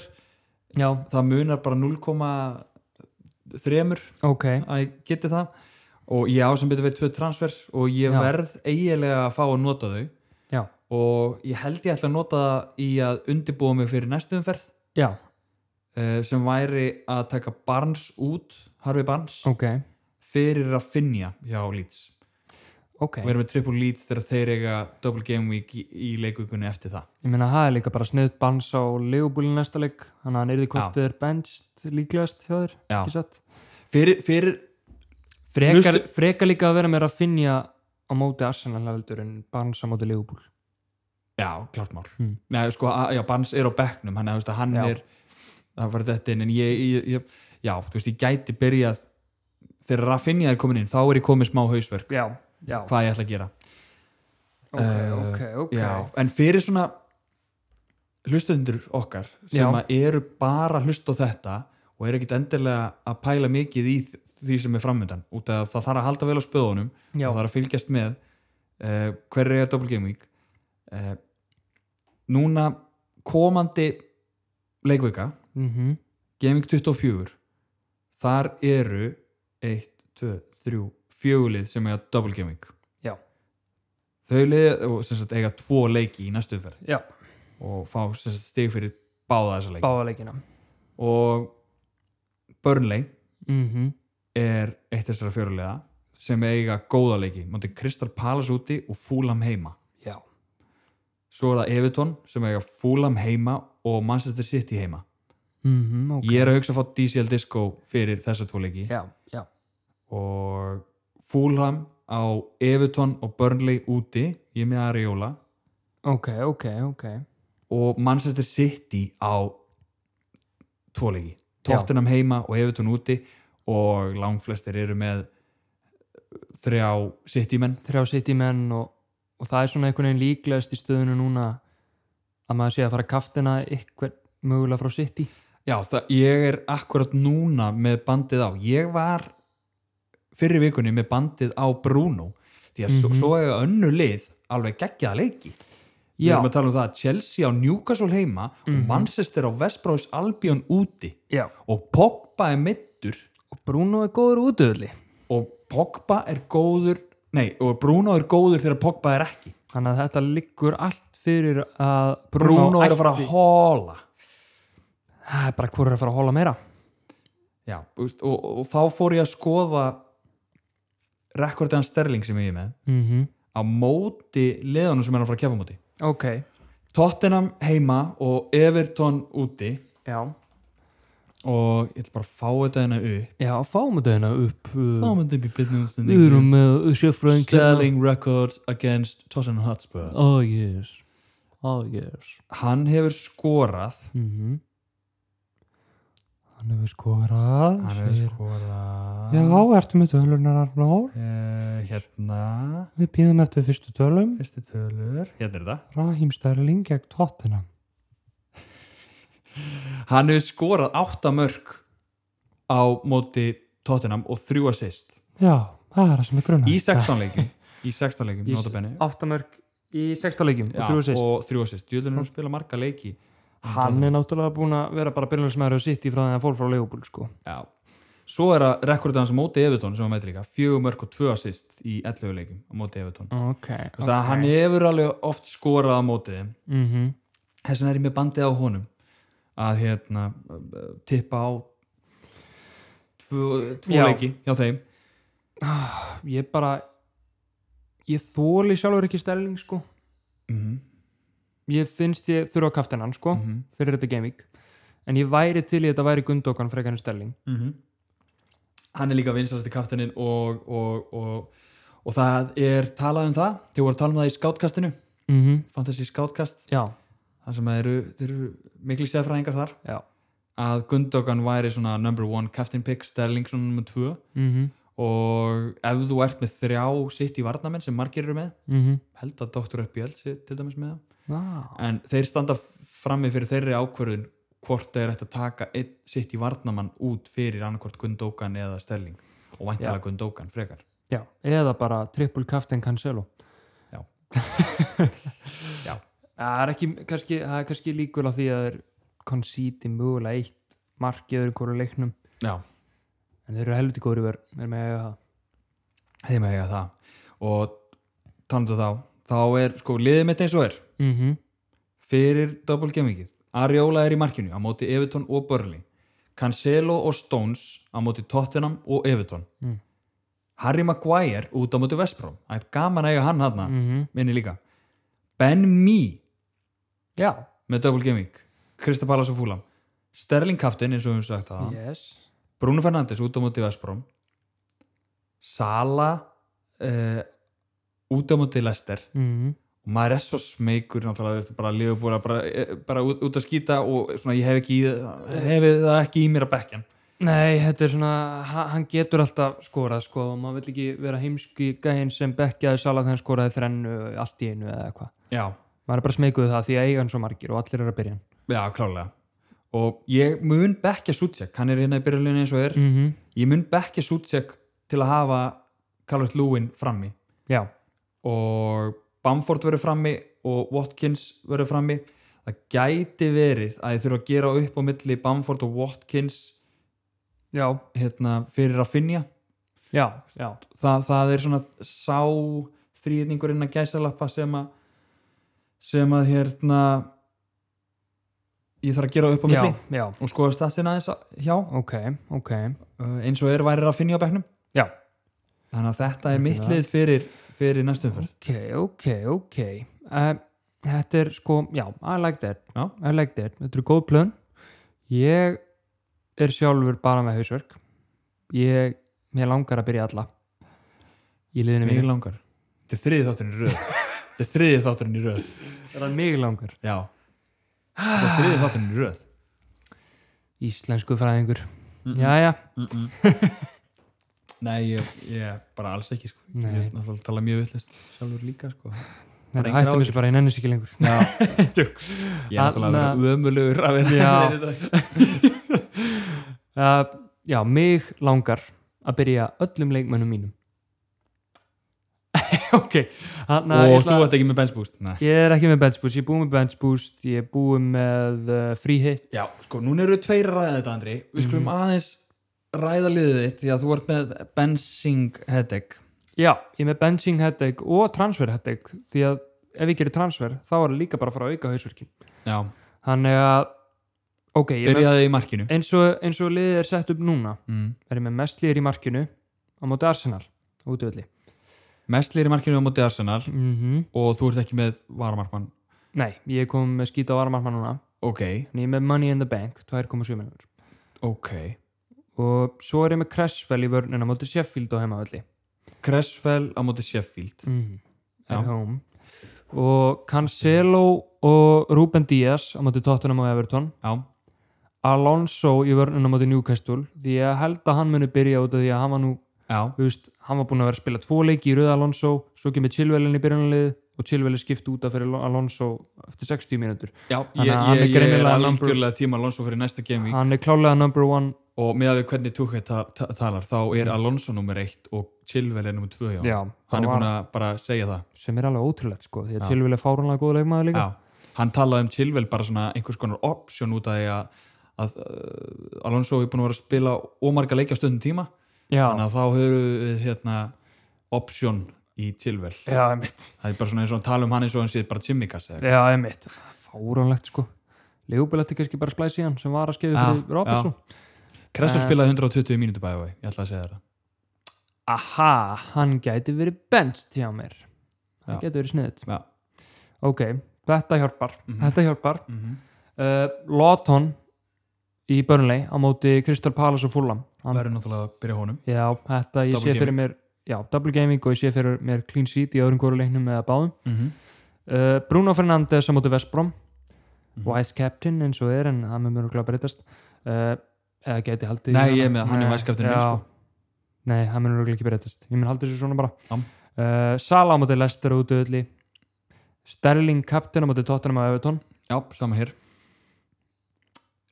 Já, það munar bara 0,3 ok. að ég geti það og ég á sem betur við tvö transfers og ég Já. verð eiginlega að fá að nota þau Já, og ég held ég ætla að nota það í að undibúa mig fyrir næstu umferð já, eh, sem væri að taka Barnes út Harfi Barnes ok. fyrir að finja hjá Leeds Ok. og erum með triple leads þegar þeir eiga double game week í, í leikugunni eftir það Ég meina, það er líka bara snuðt bans á legubúlin næsta leik. Þannig að hann yrði hvort Já. þið er benst líklegast hjá þér. Já. Ekki satt. fyrir, fyrir, Frekar, Nustu- frekar líka að vera meira að finja á móti Arsenal heldur en bans á móti legubúl. já, klart mál Hmm. Nei, sko, að- já, Barnes er á bekknum hann, veist, að hann Já. er, hann var þetta inn en ég, ég, ég, já, þú veist, ég gæti byrjað þegar Raffinja er komin inn þá er ég komið smá hausverk Já, já. hvað ég ætla að gera Ok, Eh, ok, ok. já, en fyrir svona hlustundur okkar sem Já. að eru bara að hlusta á þetta og eru ekkit endilega að pæla mikið í þ- því sem er framöndan út af að það þarf að halda vel á spöðunum Já. og það er að fylgjast með uh, hverju er Double Game Week uh, núna komandi leikvika Mhm. Game Week 24 þar eru 1, 2, 3, fjögulið sem eiga Double Game Week Já. þau lið og sem sagt eiga tvo leiki í næstu umferð Já, og fá sem sagt, stig fyrir báða þessa leiki báða leikina. og Burnley Mhm. er eitt þessara fjörulega sem eiga góða leiki, mátti Crystal Palace úti og Fulham heima Já. svo er það Everton sem eiga Fulham heima og Manchester City heima Mhm, ok. ég er að hugsa að fá DCL Disco fyrir þessa tvo leiki Já, já. og Fulham á Everton og Burnley úti ég er með Ariola Ok, ok, ok. og Manchester City á tvo leiki Já. Tottenham heima og Everton úti og langflestir eru með þrjá City menn Þrjá City menn og, og það er svona einhvern veginn líklegast í stöðunu núna að maður sé að fara að kaftina eitthvað mögulega frá City. Já, það, ég er akkurat núna með bandið á. Ég var fyrir vikunni með bandið á Bruno því að mm Mhm. svo er önnu lið alveg geggjaða leiki. Við Já, erum að tala um það að Chelsea á Newcastle heima og Mhm. Manchester á Vestbróðs Albion úti já. og Pogba er middur Og Bruno er góður útöðli. og Pogba er góður nei, og Bruno er góður þegar Pogba er ekki. Þannig að þetta liggur allt fyrir að Bruno, Bruno, er að fara að hóla. Það er bara hvort er að fara að hóla meira. Já, þú veist, og, og þá fór ég að skoða rekordjan Sterling sem ég er með Mhm. á móti leðanum sem er að fara að kefa móti Ok, Tottenham heima og Everton úti já. og ég ætla bara að fá þetta hérna upp Já, fáum þetta hérna upp. þá uh, myndum við byrjum Við útstending erum með sjöfröðin Sterling record against Tottenham Hotspur Oh yes, oh yes. hann hefur skorað Mm Hann hefur skorað hann segir- hefur skorað Já, ertu með tölunar Arnór Eh, hérna Við býðum eftir fyrstu tölum fyrstu tölur hérna er það Raheem Sterling gegn Tottenham hann hefur skorað 8 mörg á móti Tottenham og 3 assist Já, það er það sem er grunna í 16 leikum Oh í 16 leikum, Í- notabenni Áttamörk í sexta leikjum Já, og trúið sýst og þrjú assist, djúðlunum hún spila marga leiki Hann er náttúrulega búin að vera bara byrjunarsamæður og sitt í frá þegar hann fór frá Leopold sko já. svo er að rekordið hans á móti Evertón sem hann mætir líka, fjögur mörg og tvö assist í 11 leikum á móti Evertón okay. Ok, það, hann hefur alveg oft skorað á móti þeim mm þess vegna er ég með bandið á honum að hérna tippa á tvö, tvo Já. leiki hjá þeim Ég bara Ég þóli sjálfur ekki Sterling sko mm Ég finnst ég þurfa að kaftina hann sko Mhm. fyrir þetta gaming en ég væri til í þetta væri Gundogan frekarinn Sterling hann er líka vinsalasti kaftininn og, og, og, og það er talað um það, þau voru að tala um það í skátkastinu mm -hmm. fantasy skátkast já, þar sem að eru, þeir eru miklu sérfræðingar þar já að Gundogan væri svona number one captain pick, Sterling svona nummer tvö mm -hmm. og ef þú ert með þrjá sitt í varnamenn sem margir eru með Mm -hmm. held að Dr. Uppjöld sé til dæmis með það en þeir standa frammi fyrir þeirri ákvörðun hvort það er eftir að taka einn, sitt í varnamann út fyrir annarkvort Gundókan eða Sterling og væntalega Gundókan frekar Já, eða bara triple captain Cancelo. Já. *laughs* Já. Það er ekki, kannski, það er kannski líkur á því að þeir konsíti mögulega eitt markið öðru hverju leiknum, Já, en þeir eru helviti góður í vörn, er með að eiga það. þeim að eiga það og talandu þá þá er sko liðið mitt eins og er Mm -hmm. fyrir double gamingið Ariola er í markinu á móti Everton og Burnley Cancelo og Stones á móti Tottenham og Everton Mm. Harry Maguire út á móti Vestbrom það er gaman að eiga hann hann Mm. minni líka Ben Mee Já, með double gaming Kristapalas og Fúlam Sterling Kaftin eins og við höfum sagt að yes. Bruno Fernandes út á móti Vestbrom Sala uh, út á móti Lester Mm og maður er svo smeykur náttúrulega veistu, bara liðbúra, bara, eh, bara út, út að skýta og svona ég hef ekki í, hef það ekki í mér að bekkjan Nei, þetta er svona, ha- hann getur alltaf skorað sko og maður vill ekki vera heimski gæinn sem bekkjaði sala þegar hann skoraði þrennu allt í einu eða eitthvað. já, Maður er bara smeguð það því að eiga hann svo margir og allir eru að byrja hann. já, klálega og ég mun bekkja Sucek hann er hérna í byrjunleginu eins og er Mm -hmm. ég mun bekkja Sucek til að hafa Calvert Lúin frammi Já, og Bamford verður frammi og Watkins verður frammi það gæti verið að ég þurfa að gera upp á milli Bamford og Watkins já, hérna, fyrir að finja já, já. Þa, það er svona sá þrýðningurinn að gæsalappa sem að sem að hérna ég þarf að gera upp á milli Já, já, og skoða statsin aðeins að- hjá ok, ok. uh, eins og er væri að finja á bekknum Já, þannig að þetta er mitt Nefnilega. lið fyrir, fyrir næstum fyrst ok, ok, ok. Uh, þetta er sko, já, I like that. Já. I like that. Þetta eru góð plön. Ég er sjálfur bara með hausverk. Ég, mér langar að byrja alla. Í liðinu mínu. mig langar þetta er þriði þátturinn í röð þetta er þriði þátturinn í röð Er það mig langar? já þetta er þriði þátturinn í röð Íslensku fræðingur. Jæja, nei ég, ég bara alls ekki sko. Nei. ég er náttúrulega að tala mjög vittlist sjálfur líka sko. þetta engar hættum áhyggjur. þessu bara, ég nennis ekki lengur. já *laughs* ég er náttúrulega að vera ömulugur að vera *laughs* Já. með þetta. Uh, já, mig langar að byrja öllum leikmönnum mínum. *laughs* ok, hann og ég, þú ætla- ert ekki með benchboost Nei. ég er ekki með bench boost, ég er búið með bench boost, ég er búið með uh, free hit. já, sko, núna eru tveir að ræða þetta Andri við skulum aðeins ræða liðið þitt því að þú ert með benching headache Já, ég er með benching headache og transfer headache, því að ef ég gerir transfer, þá er það líka bara að fara að auka hausverkin. já, Þannig að, ok, ég er með, byrjaði í markinu eins, og, eins og liðið er sett upp núna, mm. er ég með mest liðir í markinu á móti Arsenal, útvöldi. mestlir í markinu á móti Arsenal Mm og þú ert ekki með varamarkmann Nei, ég kom með skýta á varmarmann núna ok, en ég er með Money in the Bank, 2,7 minnur ok og svo er ég með Cressfell í vörnina móti Sheffield á heimavalli Cressfell á móti Sheffield mm. Mhm. Já. at home og Cancelo og Ruben Díaz á móti Tottenham og Everton já, Alonso í vörnina móti Newcastle því ég held að hann muni byrja út af því að hann var nú, já, þú veist, hann var búin að vera að spila tvo leiki í rauð Alonso, svo kemur Chilvelin í byrjunalið og Chilvelin skipt út af fyrir Alonso eftir 60 mínútur já Þannig ég, að hann er ég, ég er greinilega number- algjörlega tíma Alonso fyrir næsta gaming hann er klálega number one og með að við hvernig Tukka ta ta talar þá er Alonso nummer 1 og Chilwell er nummer 2 hjá honum. Mm. já, hann er var- búin að bara segja það sem er alveg ótrúlegt sko því að tilvílega fáránlega góð leikmaður líka Já, hann talaði um Chilwell bara svona einhvers konar option út af því að, að uh, Alonso er búin að vera að spila ómarga leikja á stundum tíma já, þannig að þá höfum við hérna option í Chilwell já, einmitt það er bara svona eins og hann tala um hann eins og hann sé bara Chimikas eða eitthvað. já, einmitt, fáránlegt sko leikubillati kannski bara splæsi hann sem var að skefi Já, fyrir Robertson Kressel Eh. spilaði 120 mínútur bæði og ég ætla að segja það aha, hann gæti verið benst hjá mér Já. hann gæti verið sniðið Já. ok, þetta hjálpar Mhm. þetta hjálpar mm -hmm. uh, Lawton í Burnley á móti Crystal Palace og Fulham hann, verður náttúrulega að byrja honum já, þetta ég Double sé fyrir gaming. mér já, double gaming og ég sé fyrir mér clean sheet í öðrum góruleiknum eða báðum mm -hmm. Uh, Bruno Fernandes á móti Vestbrom Mhm. Wise Captain eins og er en það með mjög glæð breytast uh, eða geti haldið í Nei, hana. ég er með- hann er Nei, Wise Captain minn, já. sko. Nei, hann mjög glæð ekki breytast ég mun haldið þessu svona bara Já. uh, Sala á móti Lester út öðli Sterling Captain á móti Tottenham og Everton Já, sama hér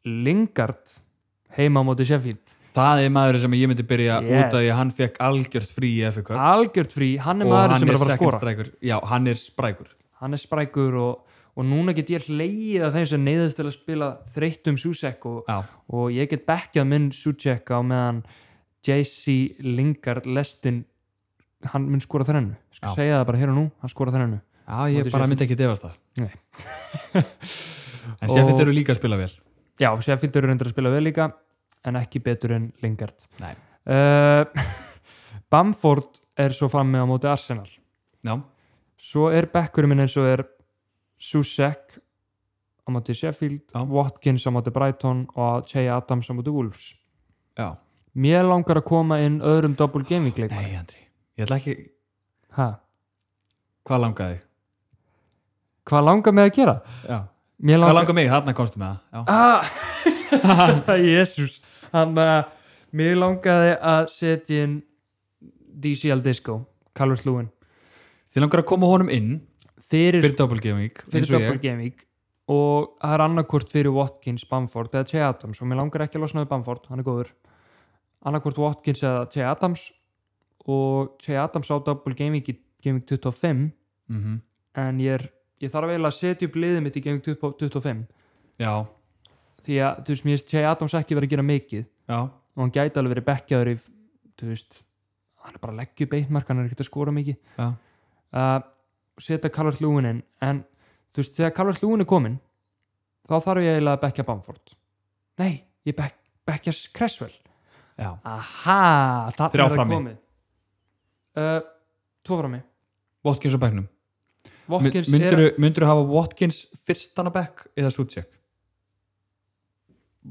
Lingard heima á móti Sheffield Það er maður sem ég myndi byrja Yes. út af því að hann fekk algjört frí í FA Cup algjört frí, hann er maður sem er að fara að second skora striker. Já, hann er sprækur. hann er sprækur og, og núna get ég leiðið að þeim sem neyðast til að spila þreyttum Susek og, Já, og ég get bekkjað minn Susek á meðan JC Lingard lestin hann mun skora þrennu, Ég skal Já. segja það bara hér og nú hann skora þrennu já ég Móti bara Sheffield. myndi ekki defast það. Nei. *laughs* en Sheffield Og- eru líka að spila vel. já, Sheffield eru reyndar að spila vel líka en ekki betur en Lingard Nei. uh, *laughs* Bamford er svo frammi á móti Arsenal Já, svo er bekkurinn minn eins og er Susek á móti Sheffield, Já. Watkins á móti Brighton og Che Adams á móti Wolves já. mér langar að koma inn öðrum double gaming leikmann Nei, Andri. Ég ætla ekki, hvað hvað langaði? langar mig að gera? Já. Mér Hvað langar, langaði mig? Þarna komstu með það. Já. langar... Ah, *laughs* Jesus hann að mér langaði að setja inn DCL Disco, Calvert Lúin Þið langar að koma honum inn fyrir fyrir double gaming, fyrir eins og Double ég. Game Week og það er annarkvort fyrir Watkins, Bamford eða Che Adams og mér langar ekki að losna við Bamford, hann er góður annarkvort Watkins eða Che Adams og Che Adams á Double Game Week í Game Week 25 Mm en ég, er, ég þarf eiginlega að setja upp liðið mitt í Game Week 20 25 Já, því að þú veist, mér veist Che Adams ekki verið að gera mikið já. og hann gæti alveg verið bekkjaður í þú veist, hann er bara að leggja upp eitt mark hann er ekkert að skora mikið Já. uh, setja Calvert Lúin inn en þú veist, þegar Calvert Lúin er komin þá þarf ég eiginlega að bekkja Bamford nei, ég bek, bekkja Cresswell Já. aha, það Þrjá er það frammi. komið uh, tvo frammi Watkins á bæknum. Watkins er Myndur þú hafa Watkins fyrstan á bekk eða Sucek?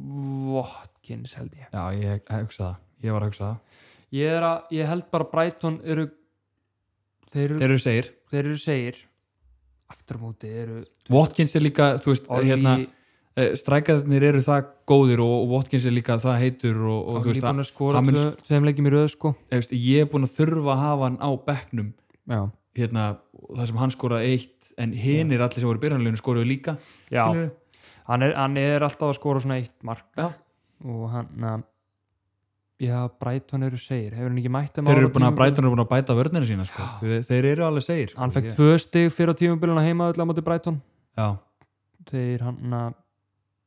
Watkins held ég Já, ég hugsa það. Ég var að hugsa það. ég, er að, ég held bara Brighton eru þeir eru, Þeir eru segir. þeir eru segir aftur á móti eru Watkins er líka, þú veist, Ollie, hérna, strækarnir eru það góðir og, og Watkins er líka það heitur og, og hann þú er veist, nýbúin að, að skora hann mun- tvö- tveim leikjum í röð sko þú veist, ég er búin að þurfa að hafa hann á bekknum já, hérna, það sem hann skoraði eitt en hinir allir sem voru í byrjanleginu skoruðu líka já. skilurðu? Hann, er, hann er alltaf að skora svona eitt mark Já. og hann að já, Brighton eru segir hefur hann ekki mætt um þeir ára eru búin að tímabil? Brighton eru búin að bæta vörnina sína sko. þeir, þeir eru alveg segir sko. hann fekk Ég- tvö stig fyrir á tímubiluna heima öll á móti Brighton já, þeir hann að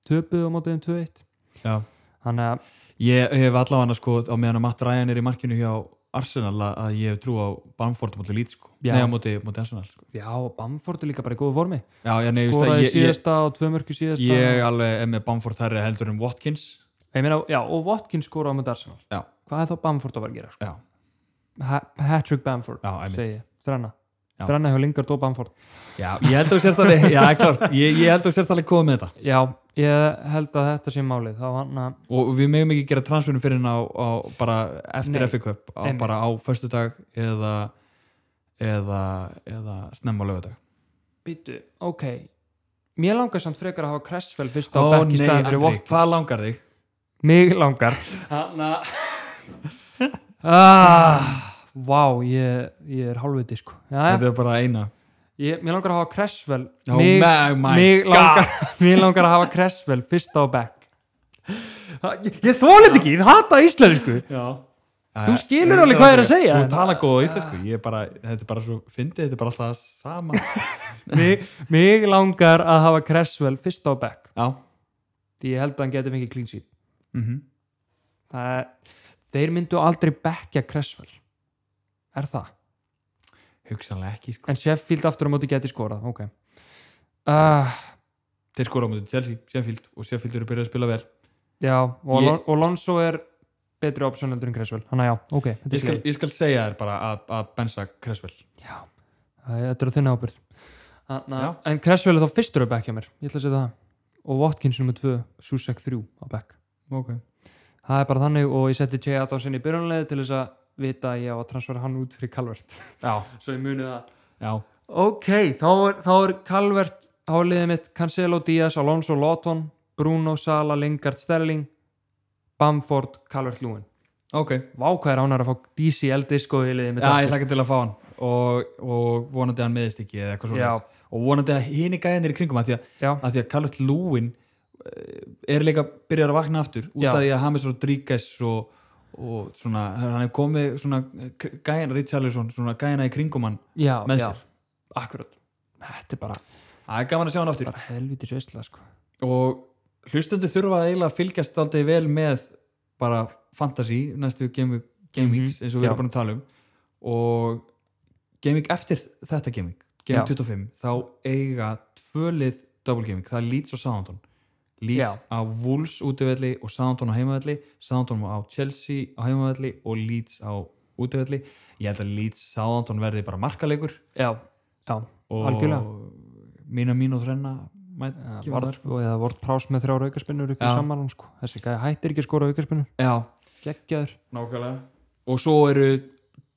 töpuðu á móti þeim 2-1 já. hann um, að, ég hef allavega sko, á meðan að Matt Ryan er í markinu hjá Arsenal að- að ég hef trú á Bamford mútið lít sko, Já. neða mútið Arsenal sko. já, Bamford er líka bara í góðu formi já, já, nei, ég, veist að skoraði ég, ég, síðasta og tvö mörki síðasta ég alveg er með Bamford herri heldur en Watkins ég meina, já, og Watkins skoraði á móti Arsenal Já. hvað er þá Bamford að vera að gera? já, Sko? Ha- Hat-trick Bamford, já, einmitt. segi ég, þrenna Já. þrenna hjá Lingard og Bamford Já, ég held að þú sért alveg, já, klart, ég, ég held að þú sért alveg komið með þetta já, ég held að þetta sé málið þá hann að og við megum ekki gera transferum fyrir hann á, á bara eftir Nei, FA Cup, á, einmitt. bara á föstudag eða eða, eða snemma á lögadag Býtu, ok Mér langar samt frekar að hafa Cresswell fyrst á Ó nei, bekk í staðan fyrir Andri, Watkins hvað langar þig? Mig langar Hanna ah, Vá, ég, ég er hálfviti sko Jæja, Þetta er bara eina ég, Mér langar að hafa Cresswell Oh mig, my, my mig, God. langar, *laughs* mig langar að hafa Cresswell fyrst á bekk Ha, Ég, ég þóla þetta ekki, ég hata íslensku Já Þú skilur alveg hvað ég er að segja, en- Þú tala góð á íslensku, ég er bara, þetta er bara svo fyndið, þetta er bara alltaf *laughs* sama mig, mig langar að hafa Cresswell fyrst á bekk Já, Því ég held að hann geti fengið clean sheet mhm Það er, Þeir myndu aldrei bekkja Cresswell Er það? hugsanlega ekki, sko En Sheffield aftur á móti geti skorað, ok. Uh, Þeir skora á mútið Chelsea, Sheffield og Sheffield eru byrjað að spila vel já, og, Ég- Lon og Lonzo er betri option heldur en Cresswell. Þannig að já, ok, þetta Ég er skal, slegið. ég skal segja þér bara að, að bensa Cresswell Já, Æ, þetta er á þinna ábyrð. Anna, Já. en Cresswell er þá fyrstur á bekk hjá mér, ég ætla að segja það. Og Watkins nummer 2, Susek 3 á bekk. okay. Það er bara þannig og ég setti Jay Adams inn í byrjunlega til þess að vita að ég á að transfera hann út fyrir Calvert. Já, Svo ég muni það. já, Ok, þá er, þá er Calvert háliðið mitt Cancelo Díaz, Alonso Lawton Bruno Sala, Lingard Sterling Bamford, Calvert Lúin ok Vá, hvað er ánæður að fá DCL disco í liðið mitt Já, ég aftur. hlakka til að fá hann og, og vonandi að hann meðist ekki eða eitthvað Já. svona og vonandi að hini gæðinir í kringum að því að, Já, að, því að Calvert Lúin er líka byrjar að vakna aftur út Já. af því að James Rodríguez og, og svona, hann er komið svona eh, k- gæna, Richarlison, svona gæna í kringum hann já, með já, sér. akkurat þetta er bara, Það er gaman að sjá hann aftur bara helviti sveisla sko. og hlustundi þurfa að eiginlega að fylgjast aldrei vel með bara fantasy næstu game, game Mhm, weeks eins og við já. erum búin að tala um og game week eftir þetta game week game week Já. 25, þá eiga tvölið double game week, það er Leeds og Southampton Leeds Já. á Wolves útivelli og Southampton á heimavelli Southampton á Chelsea á heimavelli og Leeds á útivelli ég held að Leeds Southampton verði bara markalegur já, já, og Algjörlega. Eh, mína mín og þrenna mæt, eða kemur þar. Vard- og eða vort prás með þrjár aukarspinnur ykkur Já. saman sko. þessi gæði hættir ekki að skora aukarspinnur já, geggjaður, Nákvæmlega. Og svo eru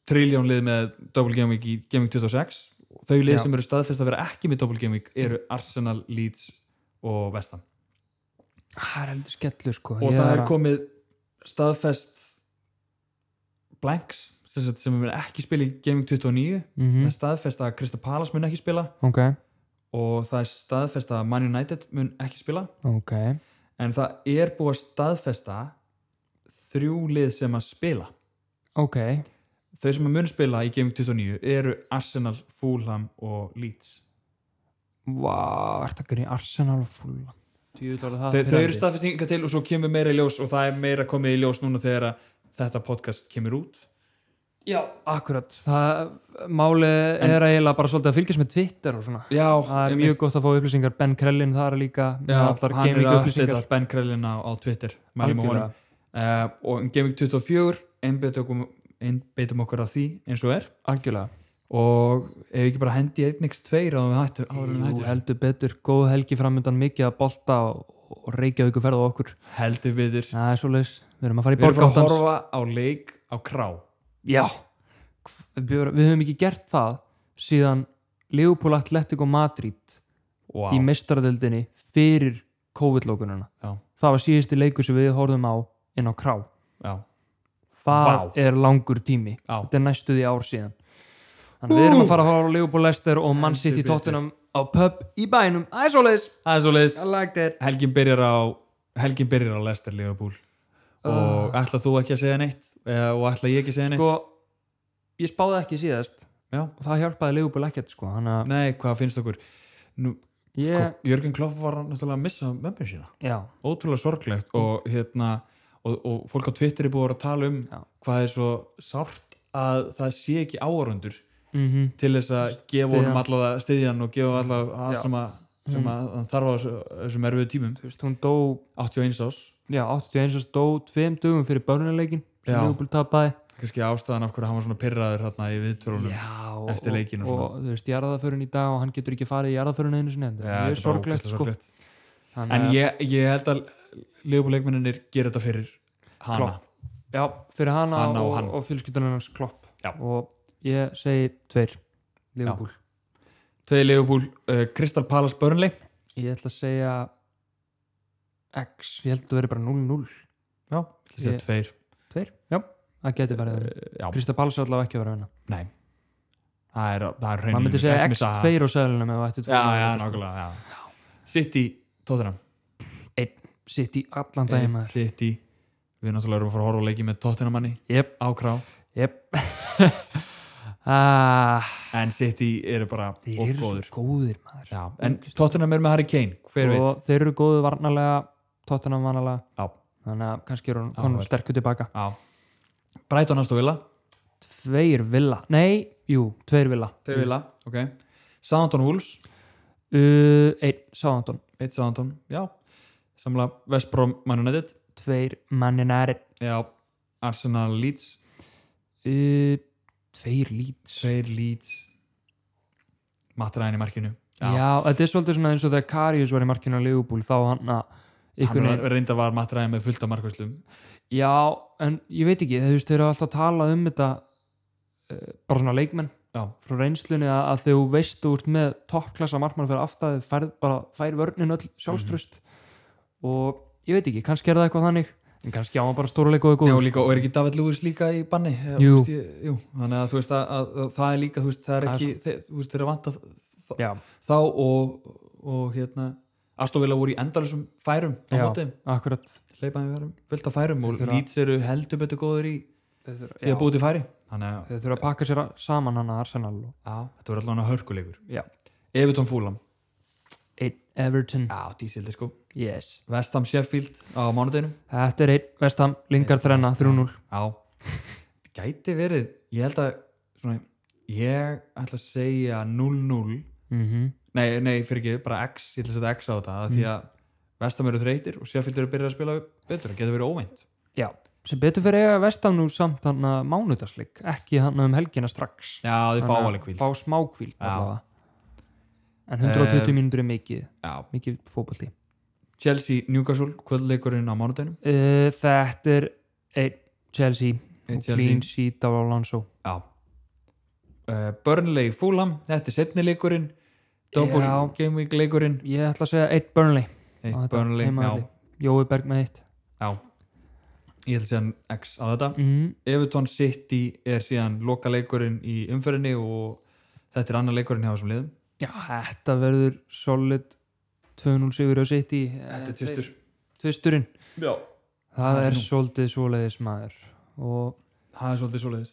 triljón lið með Double Game Week í Game Week 26. Þau lið Já. sem eru staðfest að vera ekki með Double Game Week eru Arsenal, Leeds og Vestham. Ah, það er heldur skellu sko. Og Ég það að- er komið staðfest Blanks sem, sagt, sem er ekki spila í Game Week 29. Það Mhm, er staðfest að Krista Palas mun ekki spila ok, og það er staðfest að Man United mun ekki spila. ok En það er búið að staðfesta þrjú lið sem að spila. ok, þau sem að mun spila í Gaming 29 eru Arsenal, Fulham og Leeds vá, er þetta grín Arsenal og fúla Ah, þau, þau eru stað staðfestinga til og svo kemur meira í ljós og það er meira komið í ljós núna þegar að þetta podcast kemur út já, akkurat, það máli er eiginlega bara svolítið að fylgjast með Twitter og svona já, það er mjög gott að fá upplýsingar Ben Krellin þar er líka með já, allar hann er gaming að upplýsingar upplýsingar Ben Krellin á, á Twitter mælum og honum Algjörlega. uh, og um Gaming 24 einbeitum, einbeitum okkur að því eins og er algjörlega, og ef ekki bara hendi einnigst tveir á við hættu, áður en við Jú, hættu. heldur betur góð helgi framöndan mikið að bolta og, og reykja ykkur ferð á okkur heldur byður það er svoleiðis, við erum að fara í við erum að borgáttans horfa á leik á krá já, við, við höfum ekki gert það síðan Leopold Atletico Madrid wow. í mestaradöldinni fyrir COVID-lókununa Já. það var síðusti leikur sem við horfum á inn á krá já, það Vá. er langur tími já. þetta er næstu því ár síðan þannig að við erum Ú. að fara að horfa á Leopold Lester og mann Heldur sitt í betur. tóttunum á pub í bænum æsóleis það er svo leiðis like that helgin byrjar á helgin byrjar á Lester Liverpool og ætla þú ekki að segja neitt eða, og ætla ég ekki að segja neitt Ah. sko, ég spáði ekki síðast Já. og það hjálpaði Leopold ekkert sko þannig að nei, hvað finnst okkur Nú, sko, ég, Jörgen Klopp var náttúrulega að missa mömmin sína, já, ótrúlega sorglegt og hérna og, og fólk á Twitter er búið að vera að tala um Já. hvað er svo sárt að það sé ekki áarundur mm til þess að Styðja. gefa honum allavega stiðjan og gefa allavega það Já. Mm. sem að, sem að hann þarf á þessu- þessum erfiðu tímum þú veist, hún dó 81 ás, já, 81 árs dó tveim dögum fyrir börnuleikin sem Já. Leopold tapaði kannski ástæðan af hverju hann var svona pirraður hérna í viðtölunum já, Eftir leikinn og og, og, þú veist, jarðaförun í dag og hann getur ekki farið í jarðaförun einu sinni, Já, þetta þetta er bara sorglegt ógeðslega sko eh, sorglegt. Þannig En að- ég, ég held að Leopoldleikmenninir gera þetta fyrir hana. Klopp. já, fyrir hana Hana og og, hann. og, fjölskyldunar hans klopp Já. og ég segi tveir Liverpool, Tvei Leopold, uh, Crystal Palace Burnley. ég ætla að segja X, ég held að það veri bara 0-0 Já, það sé Ég- tveir. tveir, já, það getur verið Uh, uh, já, Krista Páls er allavega ekki að vera hérna það er, það er raunin. maður myndi segja X, tveir á seðlunum ef þú ættir Já, tvo já, möguleika, sko. nákvæmlega, já. City, Tottenham. sitt í allan daginn maður City, við náttúrulega erum að fara að horfa á leiki með Tottenham manni jep, á krá. jep *laughs* ah, En City eru bara þeir of eru góður. svo góður maður Já, en Tottenham er með Harry Kane, hver veit. og þeir eru góðu varnalega Tottenham varnalega Já. þannig að kannski eru Já, konum vel. sterkur tilbaka Já. Brighton Aston Villa. tveir villa, nei, jú, tveir villa Tveir Villa, Mm. ok. Southampton Wolves. uh, einn, Sáðantón, Eitt Southampton, já. Samla West Brom Man United. tveir manninari Já, Arsenal Leeds uh, tveir lít já. Tveir Leeds Matræðin í markinu Já. þetta er svolítið svona eins og þegar Karius var í markinu á Leopold þá hann að Hann einhvern veginn var- reyndar var matræðin með fullt af markvæslum Já, en ég veit ekki, þú veist, þeir eru alltaf að tala um þetta uh, bara svona leikmenn Já. frá reynslunni að, að þegar þú veist þú ert með toppklassa markmann fyrir aftæði fær, bara fær vörnin öll sjálfströst Mhm. og ég veit ekki, kannski er það eitthvað þannig en kannski á hann bara stóra leik og Já, eitthvað og líka, og er ekki David Lewis líka í banni Eða, Jú. þú veist, ég, jú. Þannig að þú veist að, að, að það er líka þú veist, það er Það er ekki, þeir, þú veist, þeir eru vant að vanta Já, þá og, og hérna Astovila voru í endalusum færum á Já. mótiðum, akkurat hleypaði við færum fullt af færum og Þeir þurfa- Leeds eru heldur betur góður í þeir þurfa, því að búið til færi þannig að þeir þurfa að pakka sér að- saman hann að Arsenal og, já, þetta verður allavega hörkuleikur já, Everton Fúlam, einn Everton já, dísildi sko yes, Vestam Sheffield á mánudeginum þetta er einn Vestham, Lingard þrenna 3-0 Já, *laughs* gæti verið ég held að svona, ég ætla að segja 0-0 mm nei, nei, fyrir ekki, bara X, ég ætla að setja X á þetta mm. því að Vestam eru þreytir og Sheffield eru byrjað að spila betur, það getur verið óvænt já, sem betur fyrir eiga Vestham nú samt hann að mánudagsleik ekki hann um helgina strax Já, þið fá alveg kvíld fá smá kvíld Já. allavega en 120 Eh, mínútur er mikið Já. mikið fótballi Chelsea, Newcastle, kvöldleikurinn á mánudeginum uh, þetta er einn Chelsea Einn og Chelsea. clean sheet á Alonso Já uh, Burnley, Fulham, þetta er setni leikurinn Double Já. Game Week leikurinn ég ætla að segja einn Burnley, á Eitt þetta, Burnley, já, heimavelli. Jói Berg með eitt já Ég ætla að segja X á þetta mm, Everton City er síðan loka leikurinn í umferðinni og þetta er annar leikurinn hjá þessum liðum já, þetta verður solid 2-0 sigur á City Eh, tvistur tvisturinn Já það Það er er nú. svolítið svoleiðis maður og Það er svolítið svoleiðis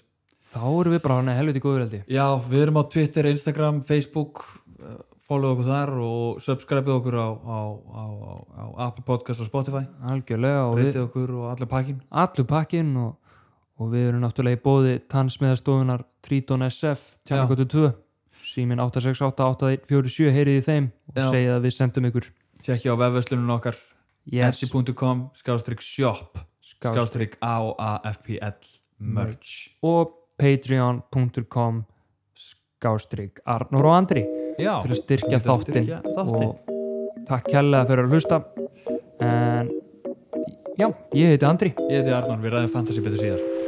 þá erum við bara hann helviti góður held ég Já, við erum á Twitter, Instagram, Facebook eh, follow okkur þar og subscribe okkur á, á, á, á, á Apple Podcast og Spotify algjörlega og við reytið okkur og allir pakkin allur pakkin og, og við erum náttúrulega í bóði tannsmiðastofunar Triton SF Já. Tjarnakotu 2 símin 868-8147 heyrið í þeim og Já. segið að við sendum ykkur Tjekkja á vefveslunum okkar yes, etsy.com skástrík shop skást skástrík AOAFPL merch og patreon.com skástrík Arnur og Andri Já, til að styrkja Til að þáttinn styrkja þáttinn. og takk kærlega fyrir að hlusta en já, ég heiti Andri ég heiti Arnón, við ræðum fantasy betur síðar